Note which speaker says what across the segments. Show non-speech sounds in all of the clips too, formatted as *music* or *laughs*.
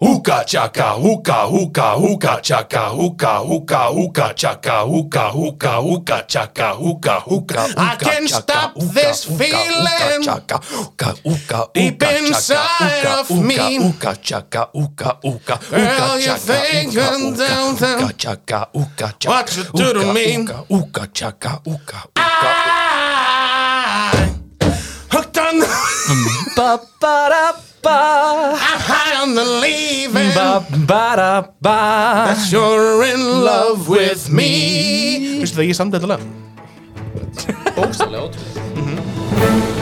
Speaker 1: hookah chaka hookah hookah hookah chaka hookah hookah hookah chaka hookah hookah hookah chaka hookah hookah
Speaker 2: I can't stop this feeling
Speaker 1: chaka hookah hookah
Speaker 2: deep inside of me.
Speaker 1: hookah chaka hookah hookah
Speaker 2: Girl, you think I'm down, down.
Speaker 1: chaka hookah chaka
Speaker 2: What you do to
Speaker 1: hookah,
Speaker 2: me?
Speaker 1: hookah, hookah chaka hookah
Speaker 2: I hooked on the
Speaker 3: ba ba da ba
Speaker 2: I'm high on the leaving.
Speaker 3: ba ba da ba
Speaker 2: You're in love with me. Vistu það ég samdi þetta lag?
Speaker 4: Bókstallega ótrúlega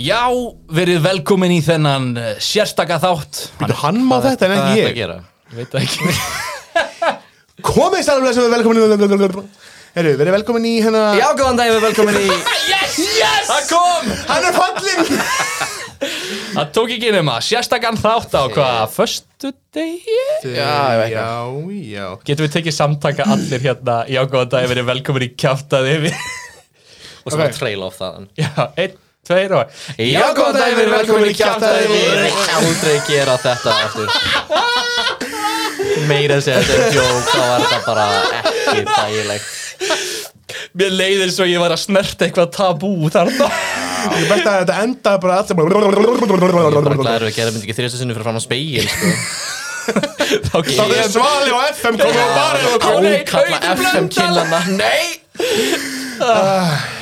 Speaker 3: Já, verið velkomin í þennan eh, sérstaka þátt
Speaker 2: Býtu, hann má þetta en
Speaker 4: Hvað er
Speaker 2: ekki
Speaker 4: þetta
Speaker 2: ég.
Speaker 4: að gera? Ég veit það ekki
Speaker 2: Komið sælumlega sem við velkomin í... Herru, verið velkomin í hérna...
Speaker 3: Já, góðan dag, við velkomin í
Speaker 4: Yes! Yes! Það kom!
Speaker 2: Hann er fallin!
Speaker 3: Það tók ekki nema, sérstakan þátt á hvað, föstu degi?
Speaker 2: Já, já, já.
Speaker 3: Getum við tekið samtaka allir hérna Já, góðan dag, verið velkomin í kjáftaði við *laughs*
Speaker 4: Og svo
Speaker 2: Ok.
Speaker 4: að trail off þaðan
Speaker 3: Já, einn, tveir og
Speaker 4: Já, góðan dag, við erum velkomin í kjátaði Við
Speaker 3: við
Speaker 4: erum aldrei að gera þetta aftur Meira að segja þetta er djók Þá var þetta bara ekki dægilegt
Speaker 3: Mér leiðir svo ég var að snerta eitthvað tabú þarna
Speaker 2: Ég best að þetta enda bara allt
Speaker 4: Það er
Speaker 2: sem...
Speaker 4: að gera myndi ekki þrjóðstu sinni fyrir fram á speil sko.
Speaker 3: Þá
Speaker 2: Þá
Speaker 3: kemur
Speaker 2: er Svali og FM komið og barið og
Speaker 3: Ó, nei,
Speaker 4: Ákalla
Speaker 3: Auður Blöndal.
Speaker 4: FM kynlana Nei!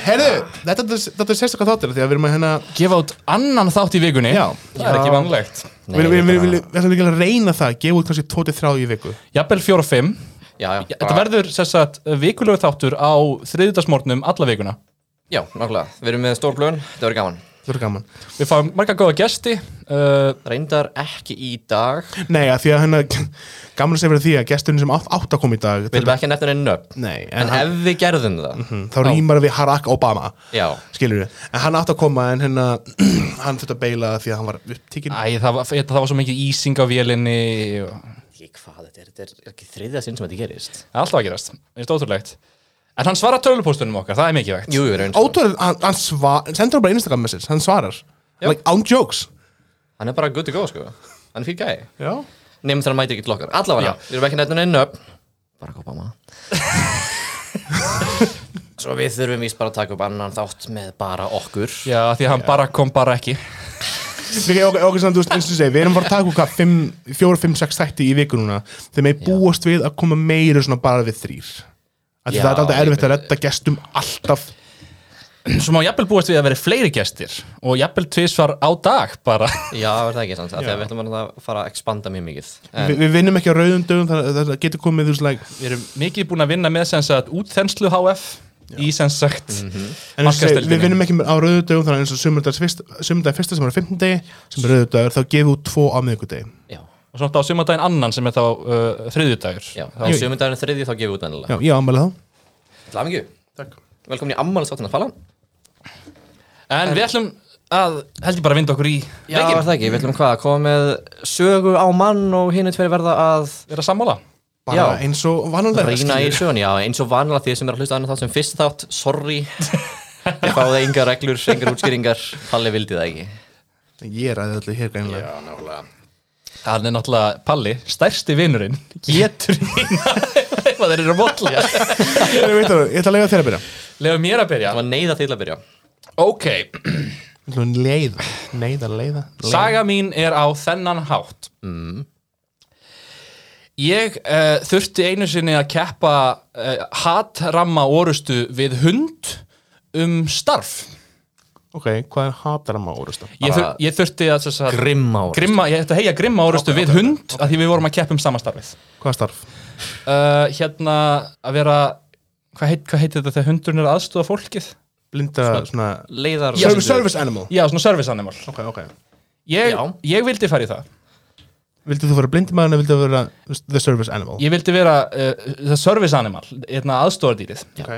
Speaker 2: Herru, þetta er- þetta er sérstaklega þáttir því að við erum að hérna...
Speaker 3: gefa út annan þátt í vikunni
Speaker 2: Já.
Speaker 3: Það er ekki vanlegt
Speaker 2: Við erum- við erum- við erum við erum ekki að reyna það, gefa út kannski 2-3 í viku.
Speaker 3: Jafnvel fjóra og fimm
Speaker 4: Já, já,
Speaker 3: Þetta verður sem sagt vikulegu þáttur á þriðudagsmórnum alla vikuna
Speaker 4: já, nákvæmlega Við erum með stór blöðun, þetta verður gaman
Speaker 2: Það er gaman.
Speaker 3: Við fáum marga góða gesti uh,
Speaker 4: Reyndar ekki í dag
Speaker 2: Nei, að því að hérna, gaman að segja fyrir því að gesturinn sem átt, átt að koma í dag
Speaker 4: Við erum ekki að nefna neinn nöfn
Speaker 2: Nei, en,
Speaker 4: En Mhm.
Speaker 2: hann,
Speaker 4: ef við gerðum það
Speaker 2: þá rýmar við Barack Obama
Speaker 4: Já,
Speaker 2: skilur við, en hann átt að koma en hérna, *clears throat* hann þurfti að beila því að hann var upptíkin
Speaker 3: Æ, það var, þetta- það var svo mikið ísing á vélinni og...
Speaker 4: ekki hvað þetta er, þetta er ekki þriðja sinn sem þetta gerist
Speaker 3: Það er Alltaf að gerast, þetta er ótrúlegt En hann svarar tölupóstunum okkar, það er mikið vegt
Speaker 4: Jú, jú, reynd
Speaker 2: ótrúlega, hann, hann sva, sendur hann bara Instagram message, hann svarar like, án jokes
Speaker 4: Hann er bara good to go, sko Hann er fyrir gæi
Speaker 2: já,
Speaker 4: Nefnum þegar hann mætir ekki til okkar Allavega, við erum ekki nefnir neinn upp Bara kopa maður *laughs* Svo við þurfum vís bara að taka upp annan þátt með bara okkur
Speaker 3: Já, því að hann bara kom bara ekki
Speaker 2: við okkur, okkur samt, þú veist, eins og segi, við erum bara að taka hvað, 5, 4, 5, 6 þætti í viku núna þegar með búast við að koma meira svona bara við þrýr Af því
Speaker 4: Já,
Speaker 2: það er alltaf
Speaker 4: ég
Speaker 2: erfitt að
Speaker 4: veit.
Speaker 2: redda gestum alltaf
Speaker 3: Svo má jafnvel búast við að vera fleiri gestir Og jafnvel tvisvar á dag bara
Speaker 4: Já, er það ekki sanns Þegar við ætlum bara að fara að expanda mjög mikið
Speaker 2: Vi, við vinnum ekki á rauðum dögum, það, það getur komið þú veist, like,
Speaker 3: Við *laughs* erum mikið búin að vinna með sem sagt útþenslu HF Í sem sagt mm
Speaker 2: En eins og segi, við vinnum ekki á rauðudögum þannig að eins og sumundagars fyrst, sumundagars fyrsta sem er á 15 degi sem er rauðudagur, þá gefum við út tvo á miðgudegi
Speaker 4: Já,
Speaker 3: Og svona á sumardaginn annan sem er þá uh, þriðjudagur
Speaker 4: já Þá
Speaker 2: Jú.
Speaker 4: sjömyndagurinn þriði þá gefum við út ennilega
Speaker 2: Já, ég ámæli þá
Speaker 4: Til hamingju.
Speaker 2: Takk.
Speaker 4: Velkomin í ammálistáttina Falan
Speaker 3: En við ætlum að, held ég bara að vinda okkur í
Speaker 4: Já, er það ekki, við ætlum hvað, að koma með sögu á mann og hinn er tveir verða að
Speaker 3: Við erum sammála
Speaker 2: Bara
Speaker 4: Já.
Speaker 2: eins og vananlega
Speaker 4: reyna í sögun, já, eins og vanlega því sem er að hlusta annað þátt sem fyrst þátt, sorry Ég fáði engar reglur, engar útskýringar Palli vildi það ekki
Speaker 2: Ég er aðeins allir hér greinlega
Speaker 3: Hann er náttúrulega Palli, stærsti vinurinn Getur hérna Ef þeir eru að votla
Speaker 2: *laughs* Ég veit það, ég ætla að lega þér að byrja
Speaker 3: Lefa mér að byrja
Speaker 4: Það var neyða til að byrja
Speaker 3: Ok,
Speaker 2: Ég ætla að leiða, neyða, leiða
Speaker 3: saga mín er á þennan hátt Ég uh, þurfti einu sinni að keppa uh, hatramma orustu við hund um starf
Speaker 2: Ok, hvað er hataram á orðustu?
Speaker 3: Ég, þur, ég þurfti að þess að
Speaker 4: Grimma ára
Speaker 3: Grimma, ég ætti að heia grimma orustu við hund okay. að því við vorum að keppa um samastarfið
Speaker 2: Hvað er starf?
Speaker 3: uh, hérna að vera hvað heit, hvað heitir þetta þegar hundurinn er aðstóða fólkið
Speaker 2: Blinda svona
Speaker 4: Leiðar
Speaker 2: Service, service animal
Speaker 3: já, svona service animal
Speaker 2: Ok, ok
Speaker 3: ég,
Speaker 4: Já.
Speaker 3: ég vildi fara í það,
Speaker 2: Vildu þú vera blindimæðan eða vildu þú vera þú veist, the service animal?
Speaker 3: ég vildi vera uh, the service animal, hérna aðstóðardýrið
Speaker 2: Ok,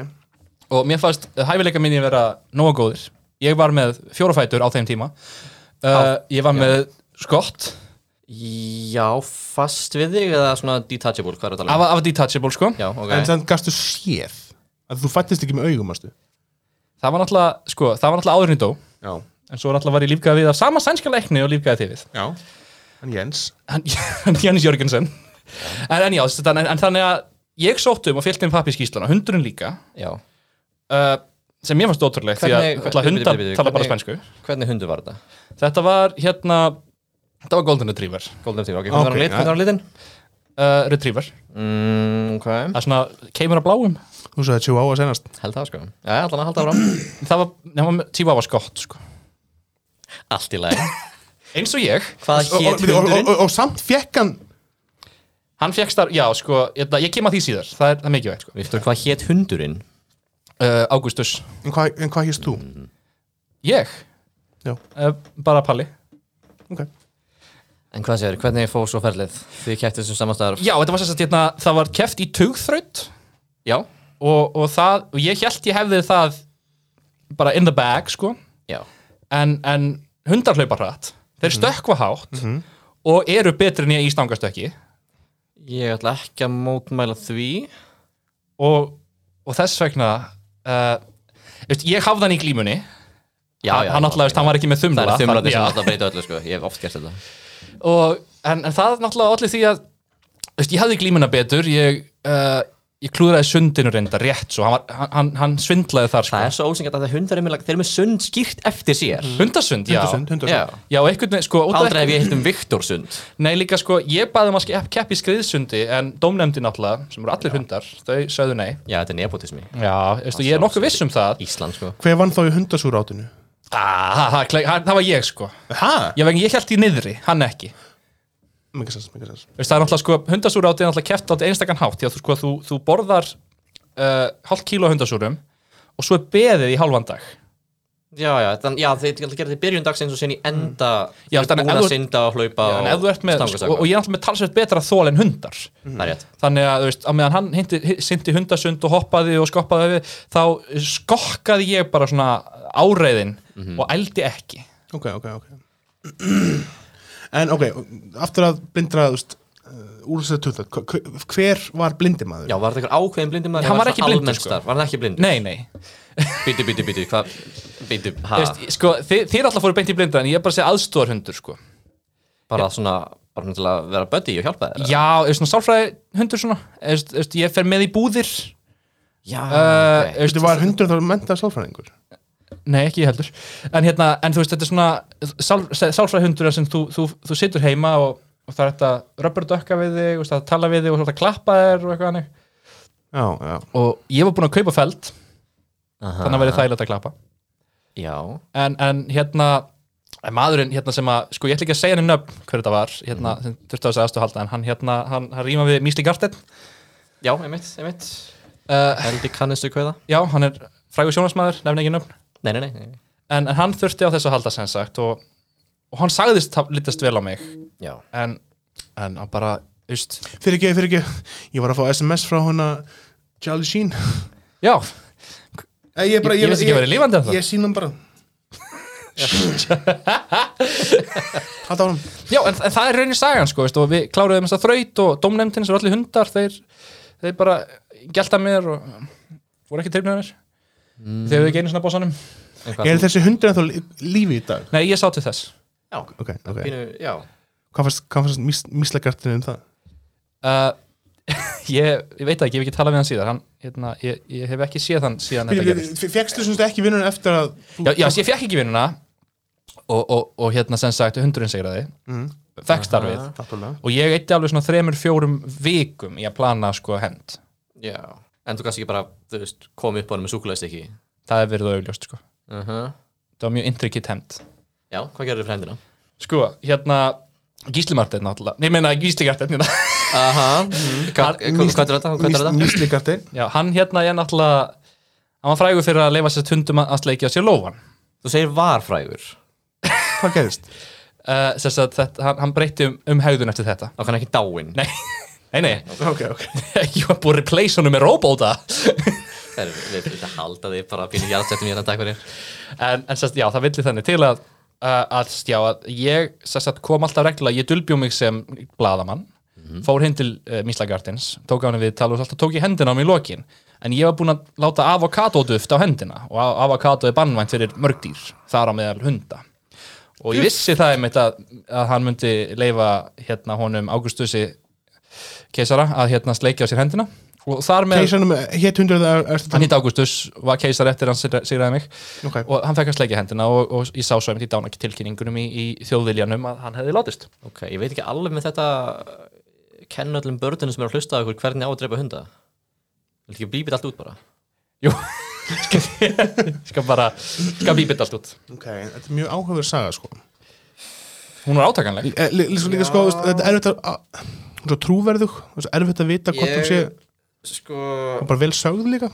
Speaker 3: og mér fannst uh, hæfileika minni vera nóga góðir, ég var með fjórafætur á þeim tíma uh, ég var með skott
Speaker 4: Já, fast við þig eða svona detachable, hvað er að tala um?
Speaker 3: af, af detachable sko
Speaker 4: Já, ok
Speaker 2: En þannig gastu séð að þú fættist ekki með augum, ástu
Speaker 3: það var náttúrulega, sko, það var náttúrulega áður en ég dó
Speaker 2: Já,
Speaker 3: en svo náttúrulega var ég lífgæða við af sama sænska lækni og lífgæða þið við
Speaker 2: já Hann Jens
Speaker 3: hann, *laughs* hann Jens Jörgensen en, en já, þess- þannig- en, en þannig að ég sótt um og fyllt inn pappískíslana, hundurinn líka
Speaker 4: Já.
Speaker 3: uh, sem mér fannst ótrúlegt því að
Speaker 4: Hvernig-
Speaker 3: náttúrulega
Speaker 4: bíddu,
Speaker 3: hundar
Speaker 4: bíddu, bíddu,
Speaker 3: tala bara
Speaker 4: hvernig-
Speaker 3: spænsku
Speaker 4: Hvernig hundu var þetta?
Speaker 3: þetta var hérna þetta var Golden Retriever
Speaker 4: Golden Retriever, ok.
Speaker 2: Ok,
Speaker 4: Hvernig var hann
Speaker 2: ja.
Speaker 4: lit? Hvernig var hann litin?
Speaker 3: uh, Retriever,
Speaker 4: Mm, ok.
Speaker 3: það er svona keimur af bláum
Speaker 2: Þú sagði tjú á að senast
Speaker 4: Held það, sko. Já, held hann að halda fram.
Speaker 3: það var, nefnum, tífa var skott sko.
Speaker 4: *clears throat* Allt í lagi.
Speaker 3: eins og ég,
Speaker 4: Hvað
Speaker 2: og, og,
Speaker 4: hét
Speaker 2: og, og,
Speaker 4: hundurinn?
Speaker 2: og, og samt fekk hann
Speaker 3: hann fekk starf já, sko, ég, ég kem að því síðar, það er, það er mikilvægt sko.
Speaker 4: Viktor, hvað hét hundurinn?
Speaker 3: uh, Augustus,
Speaker 2: En hvað, en hvað hýst þú?
Speaker 3: ég
Speaker 2: Já.
Speaker 3: uh, bara Palli
Speaker 2: Ok
Speaker 4: En hvað segir, hvernig fór svo ferlið? Þið um kæftu þessum samastarf?
Speaker 3: já, þetta var sérst að hérna, það var keft í tugþraut
Speaker 4: Já.
Speaker 3: og, og það, og ég held ég hefði það bara in the bag, sko
Speaker 4: Já.
Speaker 3: en, en hundar hlaupa hratt þeir stökkva hátt og eru betri en ég í stangastökki
Speaker 4: Ég ætla ekki að mótmæla því.
Speaker 3: og, og þess vegna uh, veist, ég hafði hann í glímunni hann, hann, náttúrulega, veist, hann var ekki með þumla,
Speaker 4: Það er þumlandi sem
Speaker 3: já.
Speaker 4: alltaf breyta öllu, sko. Ég hef oft gert þetta.
Speaker 3: og, en, en það náttúrulega allir því að veist, ég hafði glímuna betur ég, uh, ég klúðraði sundinu reynda rétt svo, hann, var, hann- hann, hann svindlaði þar sko.
Speaker 4: Það er svo ósengjart að það hundar er með, þeir eru með sund skýrt eftir sér.
Speaker 3: hundasund, já
Speaker 2: Hundasund,
Speaker 4: Já.
Speaker 2: hundasund
Speaker 3: Mm, já, og einhvern veginn, sko, út af
Speaker 4: Aldrei hef ég hitt um Viktor sund.
Speaker 3: Nei, líka sko, ég baði um að ske- keppa í skriðsundi en dómnefndi náttúrulega, sem eru allir hundar þau sögðu nei.
Speaker 4: Já, þetta er nepotismi.
Speaker 3: Já, veistu, ég er nokkuð viss um það
Speaker 4: Ísland, sko.
Speaker 2: Hver vann þá í hundasúrátinu?
Speaker 3: ah, ha, ha, kle- ha, Það var ég sko
Speaker 2: Hæ?
Speaker 3: Ég, vegna, ég held í niðri, hann ekki
Speaker 2: Mikið sens, mikið sens
Speaker 3: Veistu, Það er náttúrulega sko, hundasúrátið er náttúrulega keppt á einstakann hátt, já, þú, sko, þú, þú borðar uh, hálft kíló af hundasúrum og svo er beðið í hálfan dag
Speaker 4: Já, já, þann, já þeir ætla að gera þetta í byrjun dagsins og síðan í enda
Speaker 3: Mm. Já,
Speaker 4: þeir
Speaker 3: þannig
Speaker 4: búin
Speaker 3: ef
Speaker 4: að
Speaker 3: þú-
Speaker 4: synda og hlaupa
Speaker 3: já, en ef þú ert með,
Speaker 4: stangast
Speaker 3: sko, og, og ég er náttúrulega með talsveit betra þól en hundar
Speaker 4: Það er rétt
Speaker 3: þannig að, þú veist, að meðan hann hindi, sindi hundasund og hoppaði og skoppaði við, þá skokkaði ég bara svona áreiðin
Speaker 4: Mhm.
Speaker 3: og ældi ekki
Speaker 2: Ok, ok, *clears throat* ok En ok, aftur að blindra uh, úrstæðu tjóðlega Hver var blindimaður?
Speaker 4: Já, var þetta eitthvað ákveðin blindur maður?
Speaker 3: Hann var
Speaker 4: Eða
Speaker 3: ekki
Speaker 4: svona
Speaker 3: blindur,
Speaker 4: almennt
Speaker 3: sko.
Speaker 4: starf? Var hann ekki blind?
Speaker 3: nei, nei,
Speaker 4: Bítu, bítu, bítu, hvað? Bítu, hæ?
Speaker 3: þú veist, sko, þið, þið er alltaf fóru beint í blinda en ég er bara að segja aðstóðarhundur sko.
Speaker 4: Bara svona, bara svona til að vera buddy og hjálpa þér?
Speaker 3: já, eða svona sálfræði hundur svona eða, þú veist, ég fer með í búðir
Speaker 4: Já,
Speaker 3: uh, eða, þú
Speaker 4: ok.
Speaker 2: Þetta
Speaker 3: veist,
Speaker 2: var hundur þá mentað sálfræðingur
Speaker 3: nei, ekki ég heldur en, hérna, en þú veist, þetta er svona sál, sálfræði hundur sem þú, þú, þú situr heima og, og það er þetta röbberdökka við þig og það tala við þig og það klappa þér og eitthvað hannig
Speaker 2: Já, já
Speaker 3: og ég var búinn að kaupa feld
Speaker 4: Aha.
Speaker 3: þannig að verið þægilegt að klappa
Speaker 4: Já,
Speaker 3: en, en hérna en maðurinn hérna sem að, sko ég ætla ekki að segja henni nöfn hver þetta var, hérna, sem þurfti að segja aðstu að halda en hann hérna, hann, hann rýma við Mísli Garten
Speaker 4: já, einmitt, einmitt
Speaker 3: uh,
Speaker 4: Heldi kannistu hvað það?
Speaker 3: já, hann er frægur sjónasmaður, nefn ekki nöfn
Speaker 4: Nei, nei, nei, nei
Speaker 3: en, en hann þurfti á þessu að halda sem sagt og, og hann sagðist hafa- litast vel á mig
Speaker 4: Já
Speaker 3: en, en hann bara, veist
Speaker 2: Fyrir ekki, fyrir ekki Ég var að fá SMS frá hana Charlie Sheen
Speaker 3: já,
Speaker 2: Eh, Ég, bara,
Speaker 3: Ég- ég vissi ekki að vera lifandi ennþá.
Speaker 2: Ég sín hann bara *laughs* Halda á hann
Speaker 3: já en, en það er raunin sagan sko, veist, og við kláruðum þess að þraut og dómnefndin sem eru allir hundar, þeir, þeir bara gælta mér og voru ekki trefnið mér mm. þegar við geinum svona bósanum
Speaker 4: En hvað-
Speaker 2: Er þessi hundur ennþá lí- lífi í dag?
Speaker 3: Nei, ég sá til þess
Speaker 4: Já,
Speaker 2: Ok, ok
Speaker 4: pínu, já
Speaker 2: Hvað fannst, hvað fannst mis, mislegartinu um það?
Speaker 3: uh, *laughs* ég, ég veit það ekki, ég hef ekki talað við hann síðan hann, hérna, ég, ég hef ekki séð hann síðan þetta gerist
Speaker 2: Fekstu semst ekki vinnun eftir að þú-
Speaker 3: Já, já ég fekk ekki vinnuna og, og, og hérna sem sagt, hundurinn segraði mm. fekk starfið
Speaker 2: Náttúrulega.
Speaker 3: og ég eitti alveg svona þremur, fjórum vikum í að plana sko hend
Speaker 4: Já En þú kannski ekki bara, þú veist, komið upp á hann með súkulæst ekki
Speaker 3: það er verið auðljóst sko
Speaker 4: -huh.
Speaker 3: það var mjög intrikið hend
Speaker 4: Já, hvað gerir þið fyrir hendina?
Speaker 3: sko, hérna Gísli Martin náttúrulega, nei, ég meina Gísli Gartin hérna. *laughs*
Speaker 4: Aha, Mhm. mm-hmm. hvað er þetta? Hvað er þetta?
Speaker 2: Mis- Mislegartir
Speaker 3: já, hann hérna er náttúrulega hann var frægur fyrir að leifa sér tundum að sleikja sér lófan
Speaker 4: Þú segir varfrægur
Speaker 2: Hvað gerðist?
Speaker 3: uh, sem sagt, þetta, hann, hann breytti um, um hegðun eftir þetta
Speaker 4: og hann er ekki dáinn
Speaker 3: Nei, nei, nei. *laughs*
Speaker 2: Ok, ok
Speaker 3: ég var búin að replace honum með robóta
Speaker 4: Það er- Við við þetta halda þig bara að pínu jarðsettum hérna takk fyrir
Speaker 3: en, en sest, já, það villi þannig til að, uh, að, já, að ég sest, kom alltaf reglulega, ég dulbjó mig sem bladamann fór heim til uh, Mísla Gardens tók hann við tala og alltaf tók ég hendina á mig í lokin en ég var búinn að láta avokadóduft á hendina og a- avokadó er bannvænt fyrir mörgdýr þar á meðal hunda og ég vissi það einmitt að, að hann myndi leifa hérna honum Águstusi keisara að hérna sleikja á sér hendina og þar með
Speaker 2: Keisanum hétt hundur
Speaker 3: hann hitt Ágústus, var keisar eftir hann sigra- sigraði mig
Speaker 2: Ok.
Speaker 3: og hann fekk að sleikja hendina og, og ég sá svo einmitt í dának tilkynningunum í, í þjóðviljanum að hann hefði látist
Speaker 4: Ok, ég veit ekki alveg með þetta eh, kenna öllum börnunum sem eru að hlusta á ykkur hvernig á að drepa hunda Þetta ekki bíbit allt út bara
Speaker 3: Jú, skal, skal bara skal bíbit allt út
Speaker 2: Ok, þetta er mjög áhugaverð saga sko
Speaker 3: hún var átakanleg
Speaker 2: Eh, lí- lí- svo Líka sko, þú veist, þetta er erfitt að að- hún er svo trúverðug, þú veist, erfitt að vita hvort hún sé
Speaker 4: Sko
Speaker 2: og bara vel sögð líka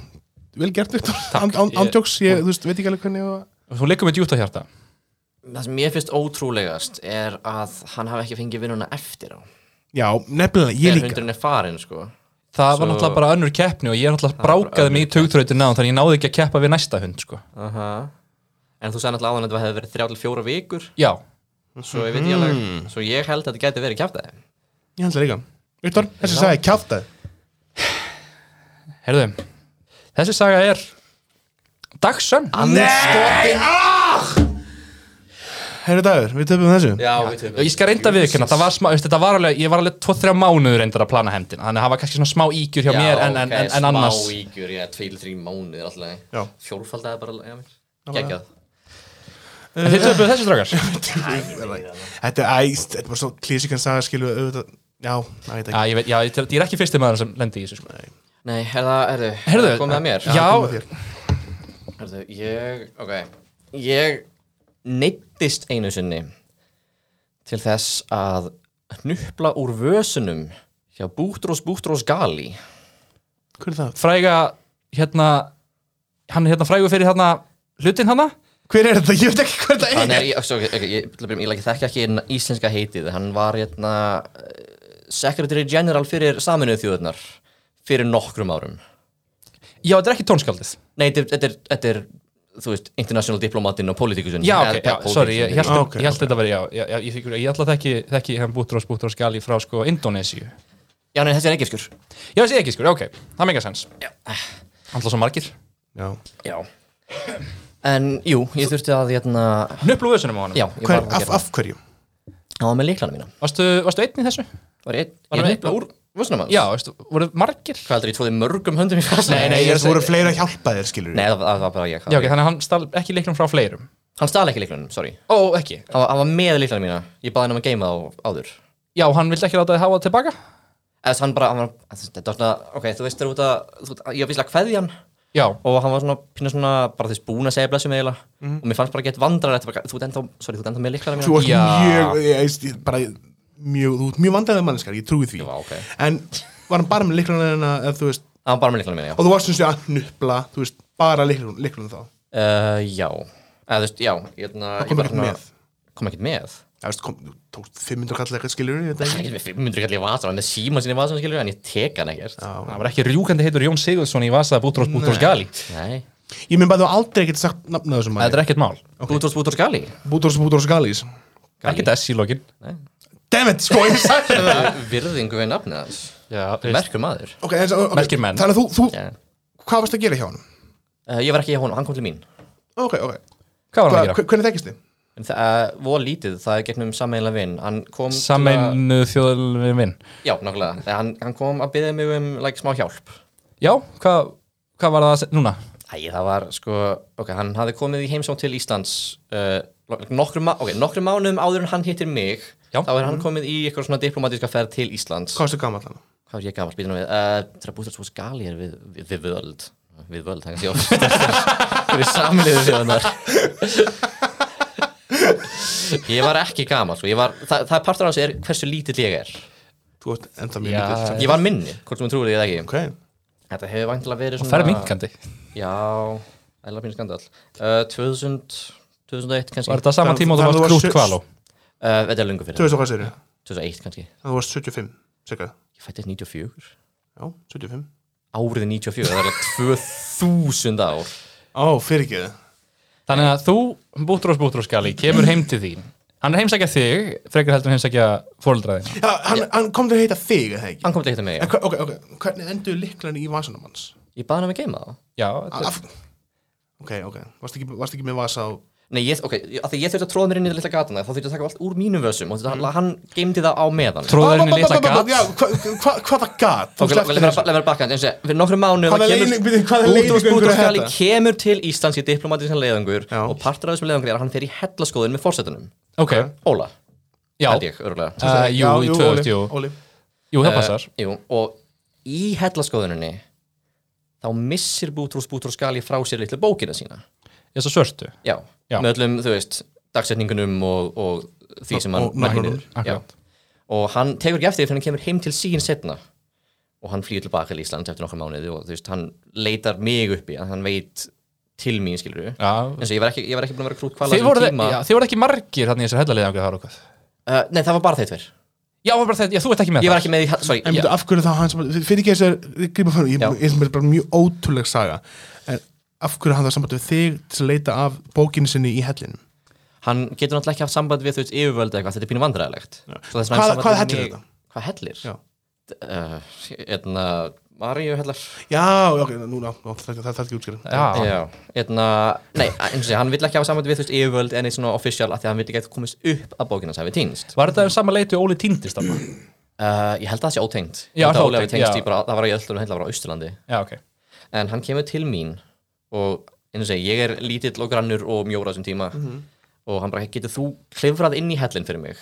Speaker 2: vel gert Viktor, *laughs*
Speaker 3: Ég-
Speaker 2: andjóks ég, þú veist, veit ekki alveg hvernig ég var-
Speaker 3: hún leikur með djúta hjarta
Speaker 4: Það sem mér finnst ótrúlegast er að hann hafi ekki fengið vinnuna eftir á
Speaker 2: Já, nefnilega, ég
Speaker 4: Þegar
Speaker 2: líka
Speaker 4: hundurinn er farinn sko
Speaker 3: það var
Speaker 4: Svo-
Speaker 3: náttúrulega bara önnur keppni og ég náttúrulega
Speaker 4: var bara
Speaker 3: brákaði mig í tugþrautin náðan þannig ég náði ekki að keppa við næsta hund sko.
Speaker 4: Aha. En þú sagði náttúrulega áðan að þetta hefði verið þrjá til fjóra vikur
Speaker 3: já,
Speaker 4: Svo
Speaker 3: Mhm.
Speaker 4: ég veit ég alveg Svo ég held að þetta gæti verið kjátt aðeim
Speaker 2: Ég held það líka Viktor, þessi saga er kjáftæð
Speaker 3: heyrðu þessi saga er dagsönn
Speaker 4: Anskotin
Speaker 2: Herri dagur, við töfum þessu
Speaker 4: Já, við tökum
Speaker 3: ég skal reynda við það var smá, veist, þetta var alveg, ég var alveg 2-3 mánuður reyndar að plana hendina þannig að hafa kannski svona smá ígjur hjá mér en, en, en, en annars
Speaker 4: Smá ígjur, já, 2-3 mánuðir alltaf
Speaker 2: Já.
Speaker 4: Fjórfaldaði bara, já, mér Gekjað
Speaker 3: en þið töpuðu þessu dragar
Speaker 2: Þetta er æst, þetta er bara svo klísikan saga skilu auðvitað Já, það veit
Speaker 3: já,
Speaker 2: ekki
Speaker 3: ég, veit, já, ég, ég er ekki fyrsti maður sem lendi í þessu sko.
Speaker 4: Nei, herða, herðu,
Speaker 3: heyrðu,
Speaker 4: komið að mér
Speaker 3: já,
Speaker 2: Koma þér.
Speaker 4: Herðu, ég, ok Ég neittist einu sinni til þess að hnupla úr vösunum hjá Bútrós Bútrós Gali
Speaker 2: Hver er það?
Speaker 3: fræga hérna, hann er hérna frægu fyrir hérna hlutin hana
Speaker 2: Hver er þetta? Ég veit ekki hver þetta
Speaker 4: Hann
Speaker 2: er
Speaker 4: er, ég, okay, okay, ég, ég, ég, ég þekki ekki inn- íslenska heitið Hann var hérna eh, Secretary General fyrir Saminuðu þjóðurnar fyrir nokkrum árum
Speaker 3: já, þetta er ekki tónskaldið
Speaker 4: Nei, þetta er- þetta er, þetta er þú veist, international diplomatinn og politíkusun
Speaker 3: já, ok, já, sorry, ég held,
Speaker 2: Ah,
Speaker 3: okay,
Speaker 2: ok,
Speaker 3: ég held þetta verið já, já, já, ég, ég, ég ætla að þekki, þekki hann Bútrós Bútrós Gali frá sko Indonésiu
Speaker 4: Já, nei, þessi er ekki skur
Speaker 3: já, þessi ekki sko, ok, það meika sens
Speaker 4: Já.
Speaker 3: Alltaf svo margir.
Speaker 2: Já
Speaker 4: Já En jú, ég þurfti að hérna
Speaker 3: Hnuplu vösunum á honum.
Speaker 4: Já, ég
Speaker 2: Hver,
Speaker 4: var að
Speaker 2: af,
Speaker 4: gera
Speaker 2: af hverju?
Speaker 4: Það var með líklana mína
Speaker 3: Varstu, varstu einn í þessu?
Speaker 4: Var ég,
Speaker 3: Var
Speaker 4: ég
Speaker 3: hann
Speaker 4: nefnilega
Speaker 3: einn?
Speaker 4: úr vössnum hans
Speaker 3: Já, veistu, voru margir?
Speaker 4: Hvað heldur ég tvoði mörgum höndum í fast
Speaker 3: Nei, nei,
Speaker 2: Nei,
Speaker 3: ég er að
Speaker 2: það voru
Speaker 3: segja-
Speaker 2: fleira að hjálpa þér skilur
Speaker 4: Nei, það, það var bara ég
Speaker 3: Já, ok, þannig að hann stal ekki leiklum frá fleirum.
Speaker 4: Hann stala ekki líklanum, sorry
Speaker 3: Ó, ekki.
Speaker 4: Hann var, hann var með líklana mína Ég baði hann um að geima þá áður
Speaker 3: Já, hann vildi ekki láta þið hafa það tilbaka?
Speaker 4: Eða hann bara, hann var, þetta var svona Ok, þú veist þér út að, þú veist, ég var víslega kveði hann
Speaker 3: Já,
Speaker 4: Og hann var svona, pína svona, bara þess búin að segja blessum eiginlega Og mér fannst bara gett vandrar Þú ert ennþá, sorry, þú ert ennþá með líklana mína
Speaker 2: Mhm. Þú ert
Speaker 3: Já.
Speaker 2: mjög, ég veist, ég- bara mjög, þú ert mjög vandræðið manneskar, ég trúi því
Speaker 4: Já, ok.
Speaker 2: En var hann bara með liklana en að, þú veist
Speaker 4: Hann var bara með líklana mína, já
Speaker 2: Og þú varst eins og að nupla, þú veist, bara liklana þá
Speaker 4: Uh, já, eða þú veist, já ég, na,
Speaker 2: Það kom ekkert með.
Speaker 4: Kom ekkert með?
Speaker 2: Það veist, kom, þú tókst 500 kall eitthvað skilur ég veit
Speaker 4: Það er
Speaker 2: ekki
Speaker 4: ekkert með 500 kallir í vasan, hann er með síma sinni í vasan skilur en ég tek hann ekkert
Speaker 3: það var ekki rjúkandi heitur Jón Sigurðsson í Vasa Bútrós Bútrós Gali.
Speaker 4: Nei,
Speaker 2: Ég minn bara þú aldrei getið sagt nafnað þessum
Speaker 3: Þetta
Speaker 2: manni
Speaker 3: er ekkert mál.
Speaker 4: Bútors Bútors Gali
Speaker 2: Bútors Bútors Galís
Speaker 3: Ekkert S í lokin.
Speaker 2: Dammit, sko,
Speaker 3: *laughs*
Speaker 2: ég sagði það
Speaker 4: Virðingu við nafnið hans
Speaker 3: Já,
Speaker 4: Merkur maður
Speaker 2: Ok, en svo- ok,
Speaker 3: Merkir menn.
Speaker 2: Þannig að þú, þú
Speaker 4: yeah.
Speaker 2: hvað varst að gera hjá hann?
Speaker 4: uh, Ég var ekki hjá honum, hann kom til mín
Speaker 2: Ok, ok
Speaker 3: Hvað var hann
Speaker 2: Hva,
Speaker 3: að gera?
Speaker 2: hve- Hvernig þekkist þið?
Speaker 4: En það uh, voru lítið, það er gegnum sammeðinlega vinn Hann kom til að,
Speaker 3: Sameinu þjóðlefin minn.
Speaker 4: Já, nákvæmlega, Þegar hann, hann kom að byrja mig um like, smá hjálp
Speaker 3: Já, hvað hva var það að se- núna?
Speaker 4: Æ, það var sko, ok, hann hafði komið í heimsókn til Íslands uh, nokkrum, ma- ok, nokkrum mánuðum áður en hann hittir mig
Speaker 3: Já.
Speaker 4: þá er hann komið í eitthvað svona diplomatíska ferð til Íslands
Speaker 2: Hvað varstu gamall hann?
Speaker 4: Hvað er ég gammal, býtum við, uh, það er búið að svo skali er við, við, við völd Við völd, það er kannski ofta *laughs* fyrir samliðu sjóðanar Ég var ekki gammal, sko, ég var, það, það er partur af þessu er hversu lítill ég er
Speaker 2: Þú varst enda mjög
Speaker 3: Já.
Speaker 2: lítill
Speaker 4: Ég var minni, hvort sem þú trúið ég eða ekki
Speaker 2: Ok
Speaker 4: Þetta hefur væntilega verið
Speaker 3: Það er
Speaker 4: svona
Speaker 3: minkandi.
Speaker 4: Já, æla pínu skandal uh, 2000, 2001 kannski
Speaker 3: Var þetta saman
Speaker 2: Þannig-
Speaker 3: tíma og þú
Speaker 2: þannig
Speaker 3: varst
Speaker 2: þú varst
Speaker 3: krútt kvaló?
Speaker 4: Uh, Þetta er lungu fyrir
Speaker 2: Þú veist hvað sér
Speaker 4: 2001 kannski Ég
Speaker 2: Það varst 75 Sekka
Speaker 4: fættist 94
Speaker 2: Já, 75
Speaker 4: Árið 94, það er alveg 2000 ár
Speaker 2: Ó, fyrir ekki
Speaker 3: Þannig að þú, Bútrós Bútrós Gali, kemur heim til þín. hann er að heimsækja þig, frekar heldur en heimsækja fóreldraðina.
Speaker 2: Já, hann, hann kom til að heita þig, eða ekki?
Speaker 4: Hann kom til að hitta mig,
Speaker 2: En,
Speaker 4: já.
Speaker 2: hva- ok, ok, hvernig endur liklan í vasanum hans?
Speaker 4: Ég baði hann um að geima það.
Speaker 3: Já, þetta-
Speaker 2: Af, ok, ok, varst ekki, varst ekki með vasa á...
Speaker 4: Nei, ég, ok, af því ég þurfti að tróða mér inn í litla gatana, þá þurfti að taka allt úr mínum vössum og þetta, hann geimdi það á meðan.
Speaker 3: tróður henni
Speaker 2: Ba- ba-
Speaker 3: litla
Speaker 2: ba- ba-
Speaker 3: gat.
Speaker 2: Já, hva- hva- hvaða gat? Þú
Speaker 4: Ok,
Speaker 2: slepptir
Speaker 4: leið mér
Speaker 2: þessu.
Speaker 4: að bakka hann, eins og fyrir nokkrum mánu
Speaker 2: Hvaða leiðing- bíddu, hvaða leiðingur er
Speaker 4: Bútúrskali
Speaker 2: þetta?
Speaker 4: kemur til Íslands í diplomatískan leiðangur
Speaker 2: Já.
Speaker 4: og partur af þessum leiðangur er að hann fer í hellaskóðin með fórsetunum
Speaker 3: Ok,
Speaker 4: Óla,
Speaker 3: já,
Speaker 4: held ég, örgulega
Speaker 3: Eh, jú,
Speaker 2: Já,
Speaker 3: í
Speaker 2: jú,
Speaker 3: 2000,
Speaker 2: Óli,
Speaker 3: jú.
Speaker 2: Óli.
Speaker 3: jú, það passar.
Speaker 4: Jú, og í hellaskóðinunni þá missir Bútrús Bútrúskali frá sér litlu bókina sína
Speaker 3: Ég svo svörtu.
Speaker 4: Já,
Speaker 3: Já.
Speaker 4: með öllum, þú veist, dagsetningunum og, og því sem hann
Speaker 2: og nöfnunum,
Speaker 4: mælir. Já. og hann tekur ekki eftir því fyrir hann kemur heim til sín setna og hann flýður tilbaka til Íslands eftir nokkra mánuði og þú veist, hann leitar mig uppi að hann veit til mín, skilur við
Speaker 3: Já, um
Speaker 4: eins og ég var ekki, ég var ekki búin að vera krút kvala
Speaker 3: Þið voru,
Speaker 4: tíma
Speaker 3: já, þið voru ekki margir þannig í þessar hellaliðangri þar okkur.
Speaker 4: uh, Nei, það var bara þeir tver
Speaker 3: Já, það var bara þetta, já, þú ert ekki með
Speaker 4: Ég var
Speaker 3: það.
Speaker 4: ekki með í, he- sorry,
Speaker 2: En
Speaker 4: ég,
Speaker 2: byrju, af hverju þá hann sem, fyrir ekki þessar gríma fyrir, ég,
Speaker 4: Já.
Speaker 2: ég sem er bara mjög ótrúleg saga en af hverju hann það samband við þig til að leita af bókinu sinni í hellinum
Speaker 4: hann getur náttúrulega ekki haft samband við þú veist yfirvöld eða eitthvað, þetta er pínu vandræðilegt Svo þess
Speaker 2: Hvað-
Speaker 4: vegna hann samband
Speaker 2: hvað
Speaker 4: við
Speaker 2: hellir
Speaker 4: mig-
Speaker 2: þetta?
Speaker 4: Hvað hellir?
Speaker 2: Já.
Speaker 4: Uh, eitna, Maríu hellar
Speaker 2: Já, ok, núna, nú, það það- það er ekki útskjörin
Speaker 3: Já,
Speaker 4: Já, eitna, nei, eins og sé, hann vill ekki hafa samband við þú veist yfirvöld en eitt svona official af því að hann vill ekki að komist upp að bókina sem við týnst
Speaker 3: var þetta um sama leitu Óli týndist þarna?
Speaker 4: Uh, ég held að það sé ótengt
Speaker 3: Já,
Speaker 4: Ég
Speaker 3: það
Speaker 4: held að
Speaker 3: er
Speaker 4: Ólafur
Speaker 3: ótengt,
Speaker 4: tengist
Speaker 3: já.
Speaker 4: í bara, það var í öllum heila frá Austurlandi
Speaker 3: Já, ok.
Speaker 4: en hann kemur til mín og eins og segi, ég er lítill og grannur og mjóra þessum tíma og hann bara, getur þú klifrað inn í hellin fyrir mig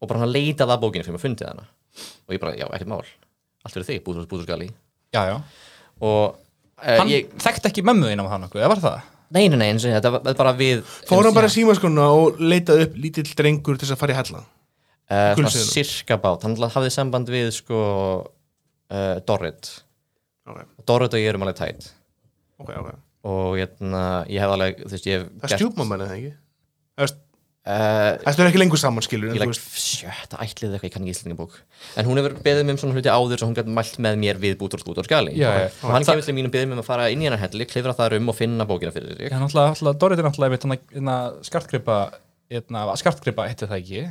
Speaker 4: og bara hann leitað að bókinu fyrir mig að fundið hana og ég bara, já, ekkert mál allt fyrir þig, búður, búður skali
Speaker 3: Já, já.
Speaker 4: og uh,
Speaker 3: Hann
Speaker 4: ég,
Speaker 3: þekkti ekki mömmu þín af hann okkur, eða var það?
Speaker 4: nei, nei, nei, eins og segi, þetta var bara við
Speaker 2: Fór hann bara í símaskona og leitaði upp lítill drengur til þess að fara í hellan
Speaker 4: uh, svona
Speaker 2: gulsviðinu?
Speaker 4: sirkabát, hann hafði samband við sko uh, Dorrit
Speaker 2: Ok,
Speaker 4: Dorrit og ég erum alveg tætt
Speaker 2: ok, ok
Speaker 4: og hérna, ég hef alveg, þú veist, ég hef
Speaker 2: Það
Speaker 4: gert-
Speaker 2: stjúpma menni það ekki Það veist,
Speaker 4: Eh,
Speaker 2: Það er ekki lengur saman skilur
Speaker 4: ég
Speaker 2: en,
Speaker 4: legg
Speaker 2: þú veist,
Speaker 4: sjötta ætlið eða eitthvað, ég kann ekki íslendingabók en hún hefur beðið mér um svona hluti áður svo hún gæti mælt með mér við bútur og bútur og skali
Speaker 3: Já, já.
Speaker 4: og hann kemur til mín og beðið mér um að fara inn í hennar helli klifra þar um og finna bókina fyrir sig
Speaker 3: Já, náttúrulega, náttúrulega, Dorrit er náttúrulega einmitt hann að- hérna skartgripa, hérna, skartgripa heitti það ekki.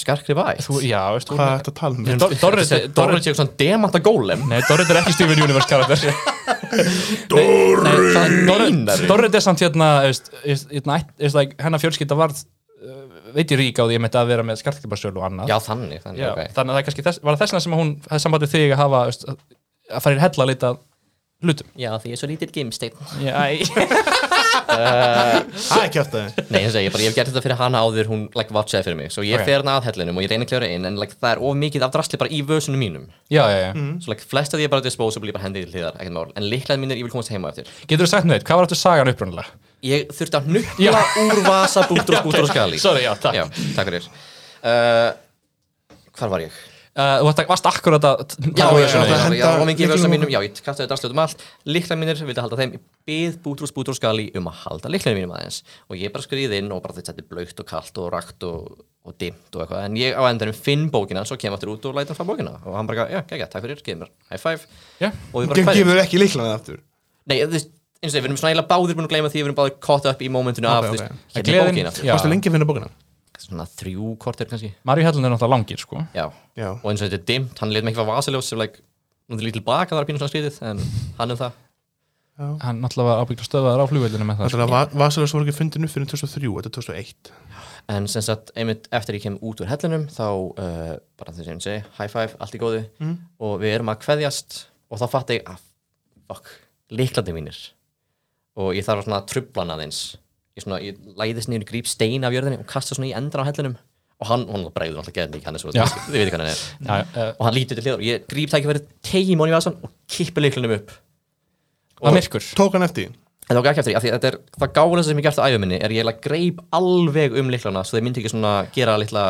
Speaker 4: skarkri væt *laughs*
Speaker 3: Þú, já, veist,
Speaker 2: Hvað er
Speaker 3: hún...
Speaker 2: þetta að tala um?
Speaker 3: Dor- Dorrit,
Speaker 4: Dorrit
Speaker 3: Dorrit,
Speaker 4: sé svona demanta gólem
Speaker 3: nei, Dorrit er ekki Steven Universe karakter.
Speaker 4: það
Speaker 3: Dorrit, Dorrit er samt hérna, veist, veist, hérna, ætt- veist, like, hennar fjölskylda varð, uh, veit ég rík á því ég að vera með skartgripasölu og annað.
Speaker 4: já þannig, þannig
Speaker 3: Já,
Speaker 4: ok.
Speaker 3: þannig að það er kannski þess, var það þessna sem að hún hefði samband við þig að hafa veist, að að fara í hella að leita að hlutum
Speaker 4: já því ég er svo lítill gimsteinn
Speaker 3: Já, æ.
Speaker 2: Það er ekki eftir það
Speaker 4: *laughs* Nei, eins og ég, bara, ég hef gert þetta fyrir hana áður, hún like, vatsaði fyrir mig Svo ég
Speaker 3: Ok.
Speaker 4: fer hana að hellinum og ég reyni að kljára inn En like, það er of mikið af drasli bara í vösunum mínum
Speaker 3: já, já, já.
Speaker 4: Svo like, flest af því er bara disposable, ég bara hendi til hliðar, ekkert mál En liklaðin mínir, ég vil komast heima eftir
Speaker 3: Getur þú sagt með þetta, hvað var þetta sagan upprunalega?
Speaker 4: ég þurfti að nukla úr vasa bútur og bútur og skali
Speaker 3: Sorry, já, takk
Speaker 4: já, takk fyrir uh, hvar var ég?
Speaker 3: Uh, Þú varst, varst akkurat að um
Speaker 4: já,
Speaker 3: taka
Speaker 4: já, já,
Speaker 3: vörsunni.
Speaker 2: það
Speaker 4: já,
Speaker 2: henda
Speaker 4: já, og mikið
Speaker 2: lyklunum
Speaker 4: vösa
Speaker 2: á-
Speaker 4: mínum já, ég kastaði drastlið um allt líkla mínir, vildi halda þeim ég bið bútur og bútur og skali um að halda líkla mínum aðeins og ég bara skriði inn og bara þetta er blautt og kalt og rakt og, og dimmt og eitthvað en ég á endanum finn bókina svo kem aftur út og læta hann fá bókina og hann bara, já, gægja, takk fyrir, geið mér high five
Speaker 3: Já.
Speaker 4: og við bara
Speaker 2: Gefur
Speaker 4: kveðjum
Speaker 2: þér ekki líklan það aftur
Speaker 4: nei, þú veist, eins og segir, við erum svona eiginlega báðir búin að gleyma því við erum báðir caught up í momentinu af,
Speaker 2: Ok, ok.
Speaker 4: þú veist, hérna er
Speaker 3: Gleðin-
Speaker 4: bókina aftur.
Speaker 3: Já.
Speaker 2: Varstu lengi að finna bókina?
Speaker 4: svona þrjú korter kannski
Speaker 3: Maríu Hellun er náttúrulega langir sko
Speaker 4: já.
Speaker 2: Já.
Speaker 4: og eins og þetta er dimmt, hann leit mig ekki fá vasaljós sem like, nú er lítið baka það er pínu svona skrítið en hann um það
Speaker 3: Hann náttúrulega var ábyggt að stöða þær á flugveldinu með það sko.
Speaker 2: Þannig að Vasaljós voru ekki fundin upp fyrir 2003, þetta er 2001
Speaker 4: en sem sagt, einmitt eftir ég kem út úr hellinum þá uh, bara þess að ég segi high five, allt í góðu og við erum að kveðjast og þá fatt ég að fuck, líklandi mínir og ég þarf að svona trubla hann aðeins ég, svona, ég læðist niður í gríp stein af jörðinni og kasta svona í endra á hellinum og hann, hann bregður alltaf geðin ekki hann er svo,
Speaker 3: Já.
Speaker 4: þið veitir hvað hann er
Speaker 3: Já, uh,
Speaker 4: og hann lítur til hliðar og ég gríp tækifærið, tegjum honum í vasan og kippi leiklunum upp
Speaker 3: Það myrkur
Speaker 2: Tók hann eftir því?
Speaker 4: en það var ekki eftir því, af því að þetta er það gáðlega sem ég gert á æfuminni er ég eiginlega greip alveg um leiklana svo þeir myndi ekki svona gera litla